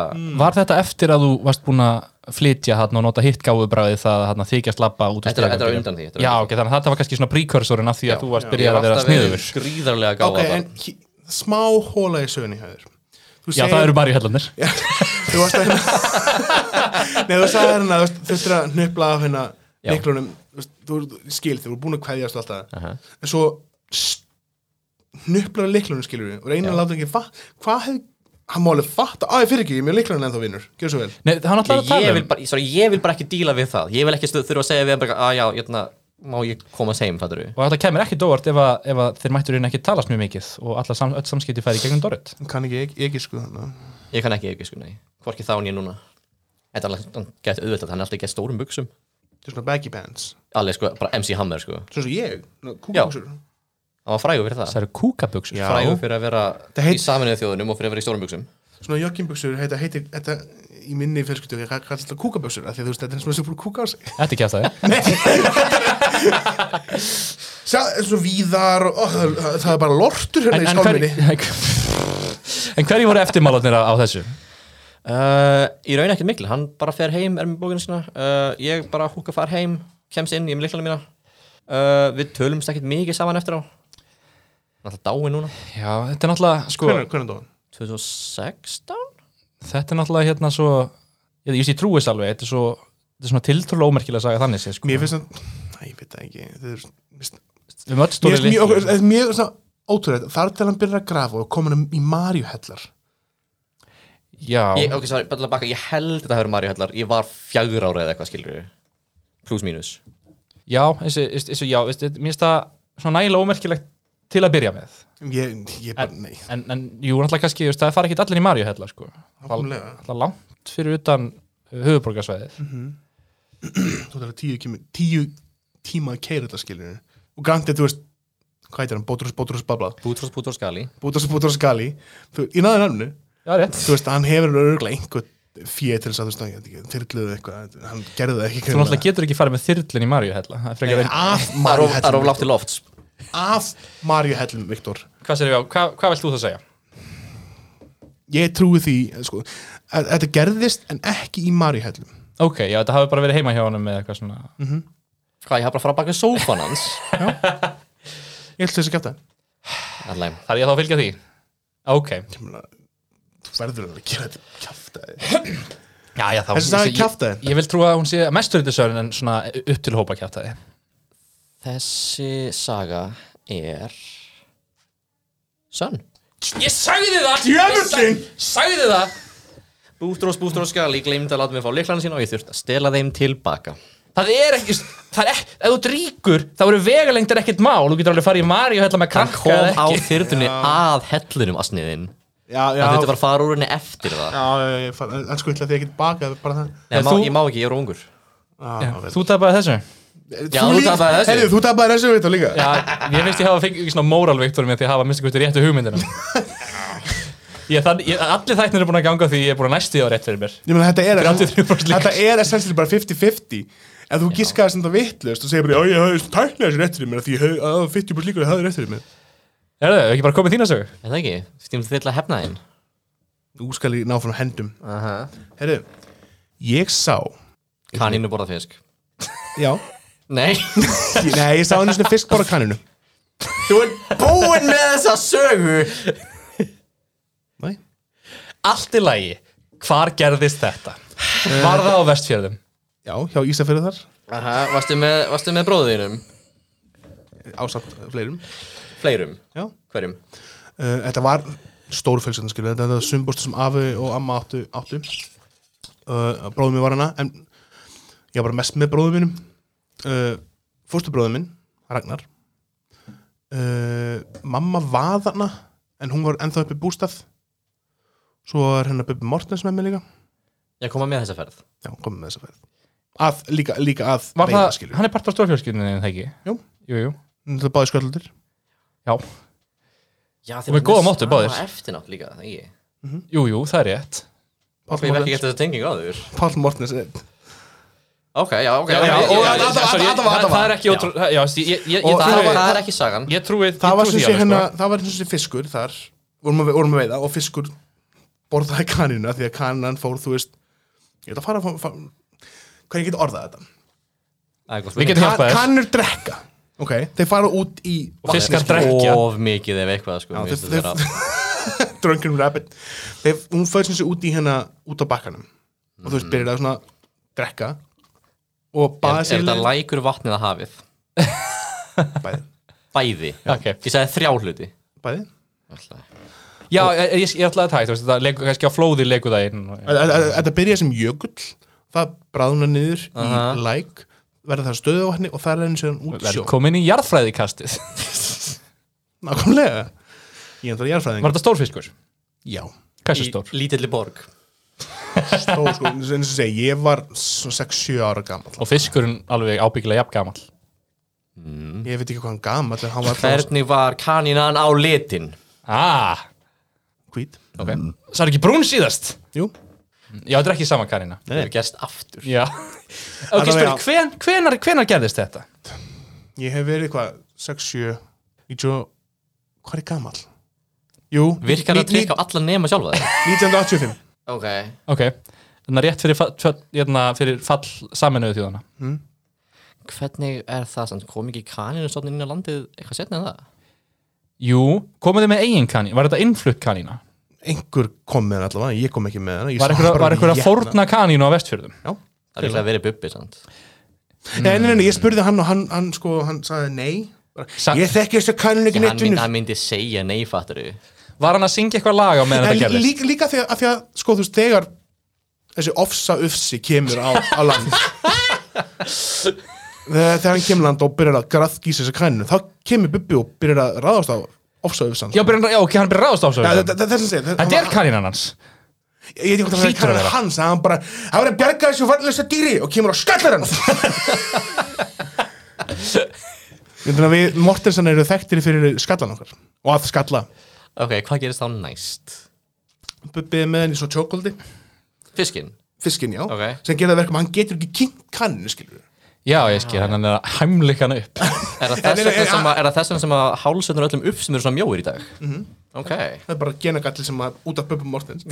Speaker 3: Var þetta eftir að þú varst búin að flytja hann og nota hitt gáfubræði það að þykjast labba út úr
Speaker 4: Þetta er- þetta er á
Speaker 3: stigaganginum?
Speaker 4: undan því, þetta er á
Speaker 3: Já,
Speaker 4: undan
Speaker 3: ok, þannig að þetta var kannski svona prekursorinn af því
Speaker 4: Já.
Speaker 3: að þú varst
Speaker 4: ég
Speaker 3: byrjað að vera
Speaker 4: alltaf verið
Speaker 3: sniður
Speaker 4: gríðarlega
Speaker 2: ok,
Speaker 4: gáða
Speaker 2: en hí- smá hóla í sögunni höður
Speaker 3: Já, það eru Maríu Hellunir
Speaker 2: þú varst að hérna *laughs* Nei, þú sagði hérna, þú veist, þurftir að hnupla af hérna
Speaker 4: Já.
Speaker 2: miklunum, þú veist, þú eru skil þú eru búin að kveðjast og allt það en svo s- hnuplar að liklunum skilur við og reynir að láta ekki, hva, hvað hef hann má alveg fatta, að ég fyrir ekki, ég er mér líklarinn ennþá vinnur, gjör svo vel
Speaker 3: Nei, það er náttúrulega að
Speaker 4: ég,
Speaker 3: tala
Speaker 4: ég,
Speaker 3: um
Speaker 4: vil bara, sorry, ég vil bara ekki díla við það ég vil ekki stu, þurfa að segja við hann bara, að já, jötna, má ég komast heim, fattur við
Speaker 3: og þetta kemur ekkert óvart ef, að, ef að þeir mættur inn ekki talast mjög mikið og alla sam, öll samskipti færi í gegnum Dorrit
Speaker 2: kann ekki, ekki, ekki sko þannig
Speaker 4: ég kann ekki ekki, sko, nei, hvorki þá nýja núna þetta er alveg, hann gæti auðvitað hann er alltaf ekki að stórum buksum,
Speaker 2: þetta er svona baggy pants,
Speaker 4: alveg, sko, bara MC Hammer, sko
Speaker 2: svona svo ég
Speaker 4: Já.
Speaker 2: kúkabuxur,
Speaker 4: hann var frægur fyrir það,
Speaker 3: það eru kúkabuxur
Speaker 2: Já.
Speaker 4: frægur fyrir að vera
Speaker 2: Það heit-
Speaker 4: í saminuðu þjóðunum og fyrir að vera í stórum buksum
Speaker 2: svona joggingbuxur heita, heitir, þetta í minni fjölskyldu, ég kallar þetta kúkabuxur af því að þú veist, þetta er svona sem búin að kúka á sig
Speaker 3: Þetta er kjátt aðeins
Speaker 2: Sjá, svona víðar og, ó, það, það er bara lortur hérna
Speaker 3: en,
Speaker 2: í
Speaker 3: en,
Speaker 2: skálminni
Speaker 3: hver- *laughs* en hverju voru eftirmálarnir á, á þessu?
Speaker 4: Uh, í raun ekkert mikil, hann bara fer heim er með bókina sína, uh, ég bara húka far heim kemst inn, ég er með liklaðina mína uh, við tölumst ekkert mikið saman eftir á hann er alltaf dáin núna
Speaker 3: Já, þetta er náttúrulega sko,
Speaker 2: hvernig, hvernig dóðan?
Speaker 4: 2016?
Speaker 3: þetta er náttúrulega hérna svo ég, ég, ég trúist alveg, þetta er svo þetta er svona tiltrúlega ómerkilega saga þannig sé, sko.
Speaker 2: Mér finnst það, Æ, ég veit það ekki þetta er, mist,
Speaker 3: við möttum
Speaker 2: mér
Speaker 3: stóri
Speaker 2: finnst mjög,
Speaker 3: litlu
Speaker 2: þetta er mjög svona ótrúlega, þar til hann byrjar að grafa og koma hann í marjuhellar
Speaker 3: Já,
Speaker 4: Ég, ok, sorry, bara til að baka, ég held þetta hefur Mario Hellar ég var fjagur ára eða eitthvað skilur plus mínus
Speaker 3: já, þessi, þessi, þessi, já veist, þetta- mér finnst það svona nægilega ómerkilegt til að byrja með
Speaker 2: ég, ég bara, nei,
Speaker 3: en, en jú, náttúrulega kannski, veist, það fara ekki allir í Maríu hella, sko. Það
Speaker 2: nákvæmlega
Speaker 3: er langt fyrir utan uh, höfuborgarsvæðið.
Speaker 2: þú þarf tíu, kemur, tíu tíma að keira þetta skilur og grantið, þú veist, hvað heitir hann, Bótrús, Bótrús, Babla
Speaker 4: Bútrós, Bútrós, Gali
Speaker 2: Bótrús, Bótrús, Gali þú, ég náði nafnu,
Speaker 3: Já, rétt.
Speaker 2: þú veist, hann hefur örgulega einhver fíð til þess að þú veist, ég veit ekki, þyrluðu eitthvað hann gerði það ekki
Speaker 3: Þú náttúrulega getur ekki farið með þyrlun í Maríu hella. Það er frekar
Speaker 2: Nei,
Speaker 3: einn.
Speaker 2: af
Speaker 4: Það er of- það er of lágt
Speaker 2: marjuhellum
Speaker 4: til lofts
Speaker 2: af marjuhellum, Viktor
Speaker 3: Hvað sér við á? Hvað, hvað vilt þú það segja?
Speaker 2: ég trúi því, sko að þetta gerðist en ekki í marjuhellum
Speaker 3: Ok, já, þetta hafi bara verið heima hjá honum með eitthvað svona.
Speaker 4: Hvað, ég haf bara fara að baka sófan hans
Speaker 2: ég ætla þess að geta
Speaker 4: Allæm
Speaker 3: Þar ég þá að fylgja því? Ok.
Speaker 2: þú verður að gera þetta kjaftaði
Speaker 3: Já, já, þá.
Speaker 2: Þessi saga er
Speaker 3: ég-
Speaker 2: kjaftaðin.
Speaker 3: Ég vil trúa að hún sé mestur undir sörun en svona upp til hópa kjátaði.
Speaker 4: Þessi saga er Sönn
Speaker 3: Ég sagði það!
Speaker 2: Djöfullinn!
Speaker 3: Ég Sagði sagði það!
Speaker 4: Bústrós, Bústrós, Gali gleymd að láta mig fá liklana sína og ég þurfti að stela þeim tilbaka
Speaker 3: Það er ekki, það er ekki, ef þú dríkur, þá eru vegalengdir ekkert mál, þú getur alveg farið í Maríu hella með
Speaker 4: Hann
Speaker 3: krakka
Speaker 4: kom
Speaker 3: eða
Speaker 4: á
Speaker 3: ekki.
Speaker 4: þyrtunni að hellinum asniðinn
Speaker 2: já, já,
Speaker 4: Hann þurfti bara að fara úr henni eftir það
Speaker 2: já, já, já, ég fann- en sko, ég ætla því að ég get bakað bara það
Speaker 4: Nei,
Speaker 3: En
Speaker 4: má,
Speaker 3: þú-
Speaker 4: ég má ekki, ég er ungur
Speaker 2: Já,
Speaker 3: Já,
Speaker 2: vel.
Speaker 3: Þú tapaði þessu?
Speaker 4: Já, þú
Speaker 2: líka-
Speaker 4: tapaðir þessu.
Speaker 2: Heyrðu, þú tapaði þessu veit líka
Speaker 3: Já, ég finnst ég hafa fengið svona móralvektor með því að hafa minnst ekki réttu hugmyndina *laughs* ég, þann, ég, Allir þætnir er búin að ganga því ég er búin að næsti á rétt fyrir mér
Speaker 2: Ég meina, þetta er
Speaker 3: 33% líka.
Speaker 2: Þetta er essentially bara 50-50 Ef þú gískaði sem það vittlust og segir bara, já, ég hafði tæknið þessu réttur í mér af því ég hafði að 50% líka ég hafði réttur í mér
Speaker 3: Er það ekki bara komið þína sögu?
Speaker 4: Er það ekki? Stímum þið til að hefna þeim
Speaker 2: Nú skal ég ná frá hendum
Speaker 4: Aha.
Speaker 2: Herru, ég sá
Speaker 4: Kaninu borða fisk
Speaker 2: Já
Speaker 4: Nei
Speaker 2: ég, Nei, ég sá henni svona fisk bara kanninu
Speaker 4: *laughs* Þú er búinn með þessa sögu
Speaker 2: Nei
Speaker 3: Allt í lagi, hvar gerðist þetta? Var það á vestfjörðum?
Speaker 2: Já, hjá Ísafjörðu þar
Speaker 4: Aha, varstu með, varstu með bróðinum?
Speaker 2: Ásamt fleirum
Speaker 4: Fleirum?
Speaker 2: Já uh,
Speaker 4: Hverjum?
Speaker 2: Eh, Þetta var stóru fjölskyldan skilur Þetta var sumbostu sem afi og amma áttu, áttu. Uh, Bróðum mér var hana En ég var bara mest með bróðum mínum uh, Fórstu bróðum minn Ragnar uh, Mamma var þarna En hún var ennþá upp í bústað Svo er hennar Bubbi Mortens með mig líka
Speaker 4: Ég koma með þessa ferð
Speaker 2: Já, komum með þessa ferð að, líka, líka að
Speaker 3: Var
Speaker 2: veiða,
Speaker 3: það,
Speaker 2: skilur.
Speaker 3: hann er part af stórfjörskjörninu en það ekki?
Speaker 2: Jú.
Speaker 3: Jú, jú,
Speaker 2: Það er báði sköldur
Speaker 3: já,
Speaker 4: Já,
Speaker 3: Og með góða máttu, báðir.
Speaker 4: Eftirnátt líka, það ekki
Speaker 3: jú, jú, það er rétt
Speaker 4: Ég hef ekki gett þessa tenging á þur
Speaker 2: Pál Mortens er-
Speaker 4: Ok, já, ok
Speaker 3: Já, já,
Speaker 4: ég-
Speaker 3: og-
Speaker 4: ég-
Speaker 2: þetta- þetta-
Speaker 3: sorry,
Speaker 2: þetta var-
Speaker 3: það-
Speaker 2: þetta var-
Speaker 3: Það er ekki ótrú, já, já, ég- ég- ég-
Speaker 4: Og
Speaker 3: ég
Speaker 4: það,
Speaker 3: trúi-
Speaker 4: var, það er ekki sagan
Speaker 3: Ég trúi, ég
Speaker 2: Það var
Speaker 3: trúi
Speaker 2: sem
Speaker 3: því
Speaker 2: sé
Speaker 3: alveg,
Speaker 2: hérna
Speaker 3: sko.
Speaker 2: Það var sem sé fiskur þar vorum að, vorum að veiða og fiskur borðaði kaninu því að kanan fór þú veist ég ætla að fara að fá- fá- hvað ég get orðað þetta
Speaker 3: Við getum hjálpað
Speaker 2: kan,
Speaker 3: þér.
Speaker 2: kanur drekka ok þeir fara út í
Speaker 3: Og fiskar
Speaker 4: Það er
Speaker 3: drekja.
Speaker 4: Of mikið ef eitthvað sko,
Speaker 2: Já,
Speaker 4: mér
Speaker 2: þeir-
Speaker 4: finnst þetta
Speaker 2: þeir-
Speaker 4: vera-
Speaker 2: drunken rabbit þeir, hún fyrir sem sé út í hérna út á bakkanum og þú veist byrjar að svona drekka og
Speaker 4: Er
Speaker 2: baða
Speaker 4: er
Speaker 2: sér
Speaker 4: þetta lækur vatnið að hafið?
Speaker 2: bæði
Speaker 4: Bæði
Speaker 3: Ok. sko.
Speaker 4: Ég sagði þrjá hluti
Speaker 2: bæði
Speaker 4: Alltaf.
Speaker 3: Já, ég, ég, ég ætlaði að taka, þú veist, það leikur kannski á flóði leikur það inn
Speaker 2: Þe- þe- þe- Þetta byrjaði sem jökull það bráðna niður
Speaker 4: Aha.
Speaker 2: í læk verða það stöðu á henni og það er henni séðan út í sjó
Speaker 3: Velkomin í jarðfræðikastið
Speaker 2: Nákvæmlega Ég er það
Speaker 3: Var
Speaker 2: jarðfræðing
Speaker 3: þetta stórfiskur?
Speaker 2: Já,
Speaker 3: Hversu stór?
Speaker 4: lítilli borg
Speaker 2: stóð sko, eins og segi, ég var svona 6-7 ára gamall
Speaker 3: Og fiskurinn alveg ábyggilega jafn gamall
Speaker 4: Mm.
Speaker 2: Ég veit ekki hvað hann gamall en hann var alltaf
Speaker 4: Hvernig var kanínan á litin?
Speaker 3: Ah,
Speaker 2: hvít
Speaker 3: ok Það er ekki brún síðast
Speaker 2: Jú,
Speaker 3: Já, þetta er ekki sama kanina
Speaker 4: Það er gerst aftur
Speaker 3: Já *laughs* Ok,
Speaker 2: Alla vega.
Speaker 3: spyrir, hven, hvenar, hvenar gerðist þetta?
Speaker 2: ég hef verið hvað 6-7 90 Hvað er ég gamall? Jú,
Speaker 4: Virkar
Speaker 2: ní-
Speaker 4: það trikk á
Speaker 2: ní-
Speaker 4: alla nema sjálfa
Speaker 2: *laughs*
Speaker 4: þeir?
Speaker 2: 1985
Speaker 4: Ok
Speaker 3: Ok, þannig að rétt fyrir, fa- tvö- hérna, fyrir fall saminuðu þjóðana
Speaker 4: Hvernig er það samt? Kom ekki kaninu stofnin inn á landið eitthvað setna en það?
Speaker 3: Jú, komuðu með eigin kanín, var þetta innflutt kanína?
Speaker 2: Einhver kom með hann allavega, ég kom ekki með hann
Speaker 3: Var einhver, var einhver að fórna kanínu á vestfjörðum?
Speaker 4: Það er líklega verið bubbi samt
Speaker 2: Nei, nei, nei, ég spurði hann og hann, hann sko, hann sagði nei Bara,
Speaker 3: Sa-
Speaker 2: Ég þekki þessu kannun
Speaker 4: Ég,
Speaker 2: ekki
Speaker 4: hann,
Speaker 2: neitt
Speaker 4: myndi,
Speaker 2: unnur
Speaker 4: hann myndi segja nei, fattur
Speaker 3: Var hann að syngja eitthvað lag á meðan þetta
Speaker 2: En
Speaker 3: gerðist?
Speaker 2: líka, líka því að, að því að, sko, þú veist, þegar þessi ofsa ufsi kemur á, á land *laughs* Þegar þegar hann kemur land og byrjar að graðgísa þessu kanninu þá kemur Bubbi og byrjar að ráðast á ofsa ufsan
Speaker 3: Já, byrja, já, ok, hann byrja ráðast á svo
Speaker 2: það, það, það, það, það,
Speaker 3: Þetta er kanínan hans
Speaker 2: ég veit ekki hvað það er
Speaker 3: Hlýtur að
Speaker 2: kannan
Speaker 3: vera.
Speaker 2: hans að hann bara, hann verður að bjarga þessu farlösa dýri og kemur á
Speaker 3: *laughs*
Speaker 2: skallar hann ég þannig að við Mortensen eru þekktir fyrir skallan okkar og að skalla
Speaker 4: Ok, hvað gerist þá næst?
Speaker 2: Bubbi er með henni svo tjókoldi
Speaker 4: Fiskinn
Speaker 2: fiskin, já,
Speaker 4: Ok.
Speaker 2: sem gerða verkum að hann getur ekki kynnt kanninu, skilur
Speaker 3: Já, ég skil, hann er að hæmleika hann upp
Speaker 2: *laughs*
Speaker 4: Er það
Speaker 2: En-
Speaker 4: þess
Speaker 2: en-
Speaker 4: vegna
Speaker 2: en-
Speaker 4: sem að, er það þess vegna sem að hálsöndar öllum upp sem eru svona mjóir í dag? Mm
Speaker 2: Mhm.
Speaker 4: Ok
Speaker 2: það er bara genagalli sem að út af Bubbi Mortensen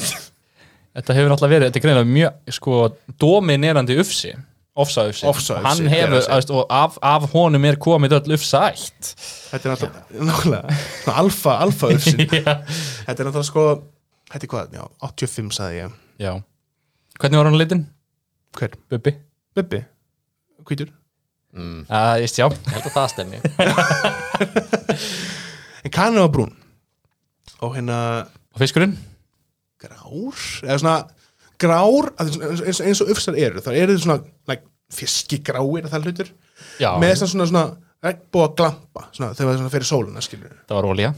Speaker 3: Þetta hefur náttúrulega verið, þetta er greinilega mjög sko, dominerandi ufsi Ofsa ufsi
Speaker 2: Ofsa-ufsi,
Speaker 3: Hann
Speaker 2: já,
Speaker 3: hefur,
Speaker 2: já.
Speaker 3: aðst, og af, af honum er komið öll ufsa ætt
Speaker 2: þetta er náttúrulega nákvæmlega, svona alfa, alfa ufsin
Speaker 3: Já.
Speaker 2: þetta er náttúrulega sko þetta er hvað, já, 85 sagði ég
Speaker 3: Já Hvernig var hann litin,
Speaker 2: hver,
Speaker 3: Bubbi?
Speaker 2: Bubbi, hvítur
Speaker 4: mm,
Speaker 3: Uh, ég sjá,
Speaker 4: Ég held að það stemmi
Speaker 2: en kanninu var brún og hérna,
Speaker 3: og fiskurinn
Speaker 2: grár eða svona grár að þess- eins, eins, eins og ufsar eru, þá eru þið svona like, fiskigráir og það hlutur
Speaker 3: Já,
Speaker 2: með þess að svona, svona regnbúa glampa svona, þegar það svona fyrir sóluna skilur
Speaker 3: það var olía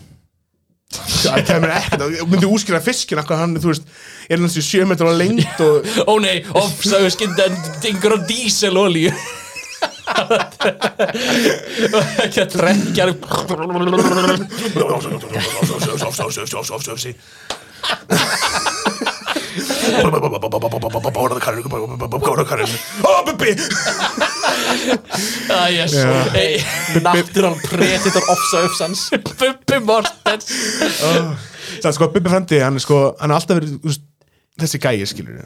Speaker 2: það kemur ekkert, það myndi úskýra fiskin akkur hann, þú veist, er hann sér 7 metrar á lengt og
Speaker 3: Ó nei, ofsa ufskin Dengur á dísel *laughs* olíu Ekki að trekkja Ah, yes. hey,
Speaker 4: Natural Predator ofsa uppsans
Speaker 3: Bubbi Mortens
Speaker 2: það er sko, Bubbi Frendi, hann er sko hann er alltaf verið, þú veist, þessi gæi skilur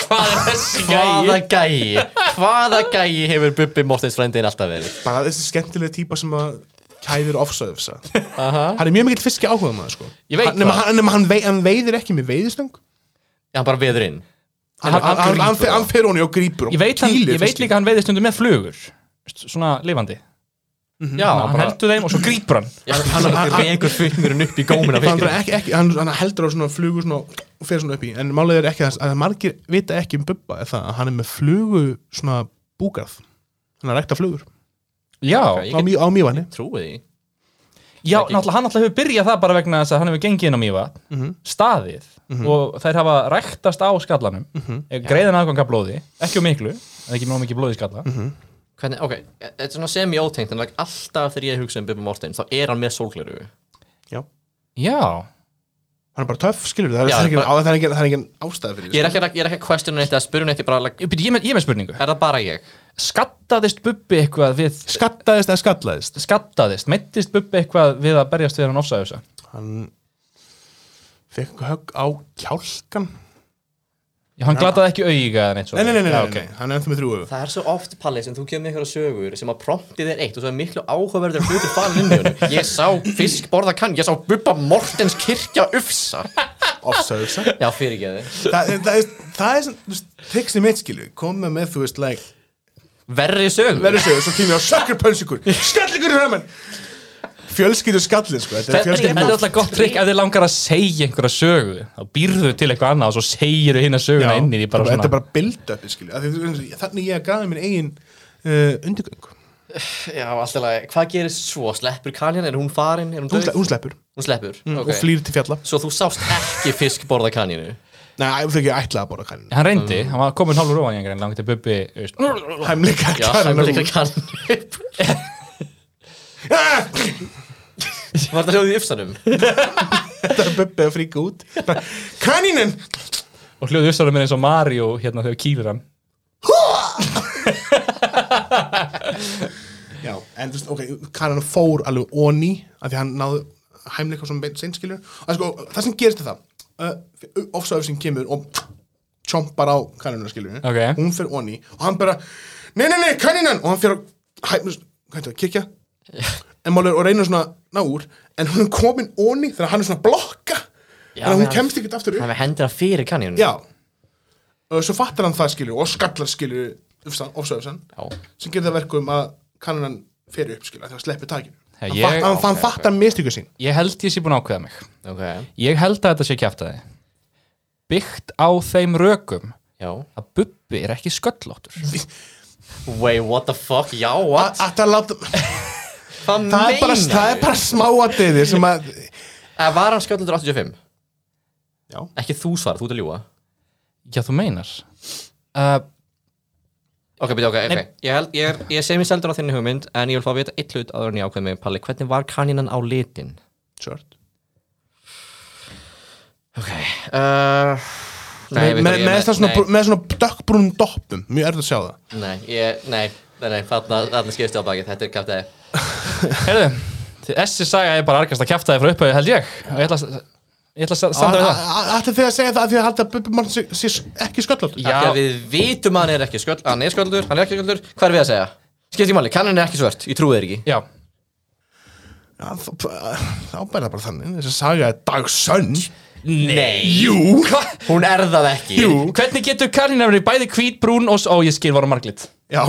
Speaker 3: Hvað er þessi
Speaker 4: Hvaða gæi Hvaða gæi hefur Bubbi Mortens frændin alltaf verið?
Speaker 2: bara þessi skemmtilega típa sem að kæður ofsaðufsa
Speaker 4: Aha
Speaker 2: hann er mjög mikill fiski áhuga maður sko
Speaker 3: Ég veit
Speaker 2: Hann- nema
Speaker 3: það.
Speaker 2: hann, nema hann, vei, hann veiðir ekki með veiðistöng
Speaker 4: Já, hann bara veður inn
Speaker 2: hann,
Speaker 3: Hann-
Speaker 2: hann,
Speaker 3: hann
Speaker 2: hann, hann,
Speaker 4: grípur
Speaker 2: fer- hann fer honi og grípur og
Speaker 3: Ég veit, hann,
Speaker 2: kýlir
Speaker 3: ég veit
Speaker 2: fiskinn.
Speaker 3: líka að hann veiði stundum með flugur St- Svona lifandi
Speaker 4: Já,
Speaker 3: Mhm. Hann heldur þeim og svo grípur hann
Speaker 4: Hann vekur fullingurinn upp í góminn
Speaker 2: hann,
Speaker 4: af fiskinum
Speaker 2: bara ekki, ekki, hann, hann heldur á svona flugu svona, og fer svona upp í en málið er ekki að, að margir vita ekki um Bubba er það að hann er með flugu svona búgarð hann er að rækta flugur
Speaker 3: Já,
Speaker 4: Ég
Speaker 2: á,
Speaker 4: get-
Speaker 2: mý, á mývanni
Speaker 4: Trúið því
Speaker 3: já
Speaker 4: Ekki-
Speaker 3: náttúrulega hann náttúrulega hefur byrjað það bara vegna þess að hann hefur gengið inn á mýva
Speaker 2: Mhm.
Speaker 3: staðið og þær hafa ræktast á skallanum mm
Speaker 2: Mhm.
Speaker 3: greiðan aðganga blóði, ekki um miklu eða ekki mjög mikið blóði í skalla
Speaker 2: Mhm.
Speaker 4: Hvernig, ok, e- þetta er svona semi-ótengt en like, alltaf þegar ég hugsa um Bubba Mortens þá er hann með sólgleru
Speaker 3: Já,
Speaker 2: hann er bara töff skilur það er,
Speaker 4: Já,
Speaker 2: það er, ekki,
Speaker 4: bara-
Speaker 2: það er, ekki, það er ekki ástæða fyrir
Speaker 4: Ég er ekki, að- ég er ekki að questiona neitt eða spyrja neitt ég bara, like,
Speaker 3: ég, byrja, ég, er með, ég er með spurningu
Speaker 4: er það bara ég?
Speaker 3: Skattaðist Bubbi eitthvað við
Speaker 2: skattaðist eða skallaðist
Speaker 3: Skattaðist, meittist Bubbi eitthvað við að berjast við hann ofsaðjósa
Speaker 2: hann fekk einhver högg á kjálkan
Speaker 3: Já, hann glataði ekki auga eða neitt svo
Speaker 2: nei, nei, nei, nei,
Speaker 3: Já,
Speaker 2: nei,
Speaker 3: ok.
Speaker 2: nei, hann er ennþá með þrjú augu
Speaker 4: Það er svo oft, Palli, sem þú kemur með ykkur sögur sem að promptið er eitt og svo er miklu áhugaverður hlutur farin inn í honum. Ég sá fisk borða kann, ég sá Bubba Mortens kirkja ufsa.
Speaker 2: ofsaðufsa
Speaker 4: Já, fyrirgeði.
Speaker 2: það, það, það, það er svona triksin mitt skilu koma með þú veist like
Speaker 4: Verri sögur.
Speaker 2: verður séu svo tími á sökkur pönsukur skall ykkur í hraman fjölskyldu skallin sko. Þetta er
Speaker 3: Þetta þetta er
Speaker 2: fjölskyldu
Speaker 3: alltaf gott trikk ef þið langar að segja einhverja sögu þá býrðu til eitthvað annað og svo segirðu hinn að söguna inn í því bara
Speaker 2: Þetta er
Speaker 3: svona
Speaker 2: bara build-up skilju. Af því þú- Þannig ég gaði minn eigin uh, undirgöng
Speaker 4: Já, alltaf lagi. Hvað gerist svo? Sleppur Kanjan? Er hún farin? Er hún
Speaker 2: Hún,
Speaker 4: döð?
Speaker 2: sle hún sleppur
Speaker 4: Hún sleppur. ok.
Speaker 2: og flýr til fjalla
Speaker 4: Svo þú sást ekki fisk borða Kanjanu?
Speaker 2: Nei, þau ekki ætlaði að borða kaninu
Speaker 3: Hann reyndi, hann var komin hálfur ofan í einhverjum langt til Bubbi veist,
Speaker 2: Hæmleika
Speaker 4: Já, hann
Speaker 2: kaninu
Speaker 4: var
Speaker 2: *laughs*
Speaker 4: líka Kanjanu. Var þetta hljóðið í yfsanum?
Speaker 2: Þetta er bubbi að fríka
Speaker 3: *laughs*
Speaker 2: út Kaninin
Speaker 3: og hljóðu uppstæðum minn eins og Mario hérna þegar kýlir hann
Speaker 2: Já, en þú veist, ok, Karan fór alveg onni af því hann náði hæmleika sem beint seinskilur og sko, það sem gerist er það uh, ofsaöfsinn kemur og tjompar á kaninu skilur
Speaker 3: Ok.
Speaker 2: hún fyrir onni og hann bara nei, nei, nei, kaninan og hann fyrir að hæ- þú veist, hvað heitir það,
Speaker 4: *laughs*
Speaker 2: kirkja en málur og reynir svona að ná úr en hún er komin onni þegar hann er svona að blokka þannig
Speaker 4: Já,
Speaker 2: að hún
Speaker 4: meðan-
Speaker 2: kemst ekkert aftur upp
Speaker 4: Hann var hendina fyrir Kanjanu?
Speaker 2: Já og Svo fattar hann það skilur og skallar skilur ofsöðusan
Speaker 4: Já.
Speaker 2: sem gerir það verkum að kannan fer upp skilur þegar sleppi takinu
Speaker 3: Hey,
Speaker 2: Hann,
Speaker 3: ég-
Speaker 2: fatt, hann, hann
Speaker 4: ok,
Speaker 2: fattar mistöku sín
Speaker 3: Ég held ég sé búin að ákveða mig
Speaker 4: Ok,
Speaker 3: Ég held að þetta sé kjæftaði Byggt á þeim rökum
Speaker 4: já.
Speaker 3: að Bubbi er ekki sköllóttur
Speaker 4: Wait, what the fuck? Já, what?
Speaker 2: Að það láta-
Speaker 4: Hvað
Speaker 2: það er bara,
Speaker 4: meinar
Speaker 2: það er
Speaker 4: þú?
Speaker 2: bara smáatriði sem að
Speaker 4: Eh, Var hann skjöldur 85?
Speaker 2: Já.
Speaker 4: Ekki þú svar, þú ert að ljúa
Speaker 3: Já, þú meinar uh,
Speaker 4: Ok, byrja, ok, ok Ég, held, ég, er- ég sé mér seldur á þinni hugmynd En ég vil fá að vita eitt hlut áður en ég ákveð mig Palli, hvernig var kanínan á litin?
Speaker 2: Svört
Speaker 4: Ok uh, Nei,
Speaker 2: með,
Speaker 4: Viktor,
Speaker 2: með,
Speaker 4: ég-
Speaker 2: með, svona,
Speaker 4: nei,
Speaker 2: brú- með svona dökkbrúnum doppum Mjög erfið að sjá það
Speaker 4: Nei, ég, nei, nei, nei Þarna, þarna skipst ég á baki Þetta er kæftið
Speaker 3: Herðu, þessi saga er bara argast að kjæftaði frá upphauði held ég og ég ætla að Ég ætla að standa við það
Speaker 2: Ættu þið að segja það að því að halda að Bubbi mann sé, sé ekki sköllótt
Speaker 3: Já.
Speaker 4: Þegar við vitum að hann er ekki skjöld Hann er skjöldur, hann er ekki skjöldur Hvað er við að segja? Skipt ég máli, kanínan er ekki svört Ég trúi þér ekki
Speaker 3: Já,
Speaker 2: Þá þá bara bara þannig Þessi saga er dagsönn
Speaker 4: Nei
Speaker 2: Jú
Speaker 4: Hún er það ekki
Speaker 2: Jú
Speaker 3: hvernig getur kanina verið bæði hvít, brún og s- ó, ég skil var á marglit
Speaker 2: Já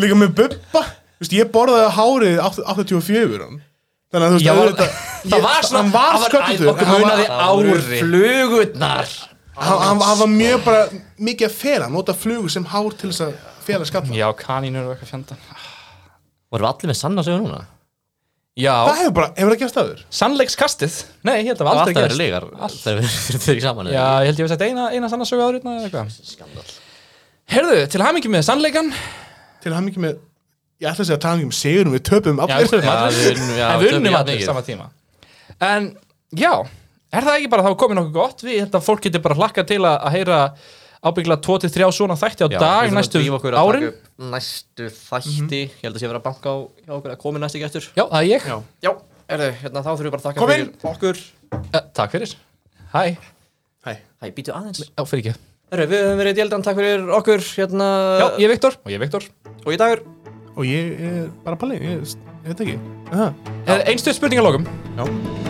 Speaker 2: Líka með bubba Þú veist, ég borðaði hárið 8- 84 hann. um. Þannig að þú veist
Speaker 3: Já, var-
Speaker 2: auðvitað-
Speaker 3: það var svona-
Speaker 2: Hann var
Speaker 3: það var- æ,
Speaker 2: sköldur
Speaker 3: okkur
Speaker 2: Hann
Speaker 3: munaði-
Speaker 2: var-
Speaker 4: Það voru
Speaker 3: Ári.
Speaker 4: flugurnar
Speaker 2: hann- hann- hann var mjög bara mikið að fela Hann nota flugu sem hár til þess að fela skalla
Speaker 3: Já, kanínur og eitthvað fjöndan
Speaker 4: Vorum við allir með sanna sögur núna?
Speaker 3: Já,
Speaker 2: Það hefur bara, hefur það gefst aður
Speaker 3: sannleikskastið Nei, ég held að
Speaker 4: Það var
Speaker 3: aldrei
Speaker 4: alltaf verið
Speaker 3: gerst.
Speaker 4: legar Þegar við *laughs* erum fyrir saman
Speaker 3: Já, ég held ég veist að eina, eina sanna sögu áriðna eða eitthvað Herðu, til hamingjum með sannleikan
Speaker 2: Til hann mikið með Ég ætla að segja að tala um sigurum Við töpum
Speaker 3: Já, við
Speaker 2: allir
Speaker 3: töfum
Speaker 4: Já, við
Speaker 3: allir
Speaker 4: unnum- já,
Speaker 3: En við
Speaker 4: töfum
Speaker 3: unnum
Speaker 4: jafn
Speaker 3: allir
Speaker 4: mikið.
Speaker 3: sama tíma En, já, er það ekki bara þá komið nokkuð gott Við held að fólk getur bara hlakka til að, að heyra ábyggla 2-3 svona þætti á dag næstu árin
Speaker 4: Næstu þætti Ég held að sé verið að banka á hjá okkur að komi næstu gættur
Speaker 3: Já, það er ég
Speaker 2: Já.
Speaker 4: Já, erðu, hérna þá þurfum við bara að þakka
Speaker 2: Kom inn.
Speaker 4: fyrir okkur
Speaker 3: Eh, Takk fyrir Hæ,
Speaker 2: Hæ
Speaker 4: Hæ, býtu aðeins
Speaker 3: já, fyrir ekki
Speaker 4: Erðu, við höfum verið djeldan, takk fyrir okkur Hérna,
Speaker 3: Já, ég er Viktor Og ég er Viktor
Speaker 4: og í dagur
Speaker 2: Og ég er bara palli Ég ég veit ekki Aha.
Speaker 3: Einstuð spurningalókum
Speaker 2: Já